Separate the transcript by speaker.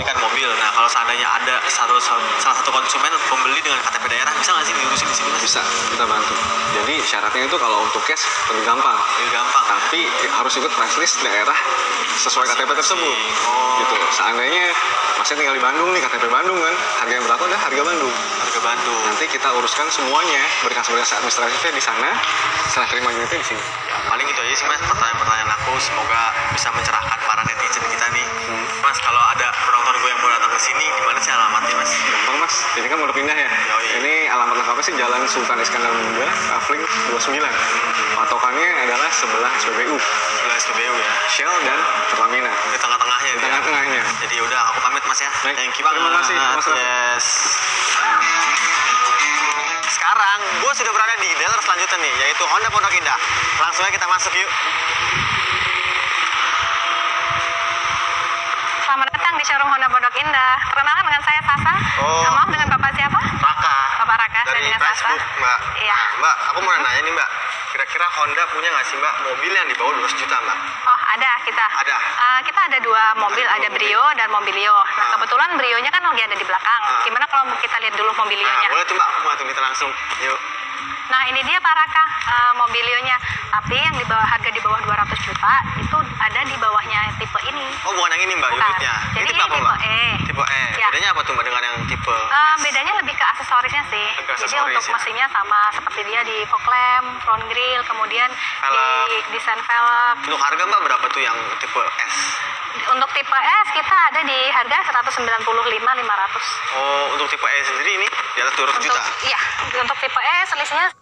Speaker 1: ini kan mobil nah kalau seandainya ada satu salah satu konsumen pembeli dengan KTP daerah bisa nggak sih diurusin di sini mas
Speaker 2: bisa kita bantu jadi syaratnya itu kalau untuk cash lebih gampang
Speaker 1: lebih gampang kan?
Speaker 2: tapi harus ikut pricelist daerah sesuai KTP tersebut
Speaker 1: Oh.
Speaker 2: gitu seandainya masih tinggal di Bandung nih KTP Bandung kan harga yang berlaku adalah harga Bandung
Speaker 1: harga Bandung
Speaker 2: nanti kita uruskan semuanya berkas-berkas administratifnya di sana setelah terima unitnya di sini
Speaker 1: paling itu aja sih mas pertanyaan-pertanyaan aku semoga bisa mencerahkan para netizen kita nih mas kalau ada penonton gue yang mau datang ke sini di mana sih alamatnya mas
Speaker 2: gampang mas ini kan udah pindah ya
Speaker 1: iya.
Speaker 2: ini alamat lengkapnya sih Jalan Sultan Iskandar Muda Kafling 29 patokannya adalah sebelah SPBU
Speaker 1: sebelah SPBU ya
Speaker 2: Shell dan Pertamina
Speaker 1: di tengah-tengahnya ya? dia.
Speaker 2: tengah-tengahnya
Speaker 1: jadi udah aku pamit mas ya
Speaker 2: Baik.
Speaker 1: thank you banget
Speaker 2: Terima kasih, Mas Raffi.
Speaker 1: yes sekarang gue sudah berada di dealer selanjutnya nih yaitu Honda Pondok Indah langsung aja kita masuk yuk
Speaker 3: Selamat datang di showroom Honda Pondok Indah. Perkenalkan dengan saya Sasa.
Speaker 1: Oh.
Speaker 3: Maaf dengan Bapak siapa?
Speaker 1: Raka
Speaker 3: Bapak Raka, saya
Speaker 1: dari
Speaker 3: dengan Sasa.
Speaker 1: Facebook mbak
Speaker 3: Iya.
Speaker 1: Nah, mbak aku mau nanya nih mbak kira-kira Honda punya nggak sih mbak mobil yang di bawah 200 juta mbak
Speaker 3: Oh, ada kita.
Speaker 1: Ada.
Speaker 3: Eh, kita ada dua mobil,
Speaker 1: dua
Speaker 3: ada
Speaker 1: mobil.
Speaker 3: Brio dan Mobilio. Nah,
Speaker 1: Ah.
Speaker 3: kebetulan Brio-nya kan lagi ada di belakang.
Speaker 1: Ah.
Speaker 3: Gimana kalau kita lihat dulu
Speaker 1: nah
Speaker 3: Mobilio-nya?
Speaker 1: boleh tuh mbak aku mau tuh kita langsung yuk
Speaker 3: Nah, ini dia Pak Raka, eh, Mobilio-nya. Tapi yang di bawah harga di bawah 200 juta itu ada di bawahnya tipe ini.
Speaker 1: oh bukan yang ini mbak
Speaker 3: Bukan.
Speaker 1: unitnya
Speaker 3: Jadi
Speaker 1: ini tipe apa
Speaker 3: ini
Speaker 1: mbak
Speaker 3: tipe E.
Speaker 1: tipe E
Speaker 3: Ya.
Speaker 1: bedanya apa tuh mbak dengan yang tipe
Speaker 3: Eh, bedanya lebih ke aksesorisnya sih.
Speaker 1: Lebih ke
Speaker 3: Jadi
Speaker 1: aksesoris,
Speaker 3: untuk
Speaker 1: ya.
Speaker 3: mesinnya sama seperti dia di fog lamp, front grill, kemudian di
Speaker 1: Velg.
Speaker 3: desain velg.
Speaker 1: untuk harga mbak berapa tuh yang tipe S
Speaker 3: Untuk tipe S kita ada di harga 195.500.
Speaker 1: oh untuk tipe E sendiri ini di atas 200
Speaker 3: Untuk
Speaker 1: juta
Speaker 3: iya, untuk tipe S selisihnya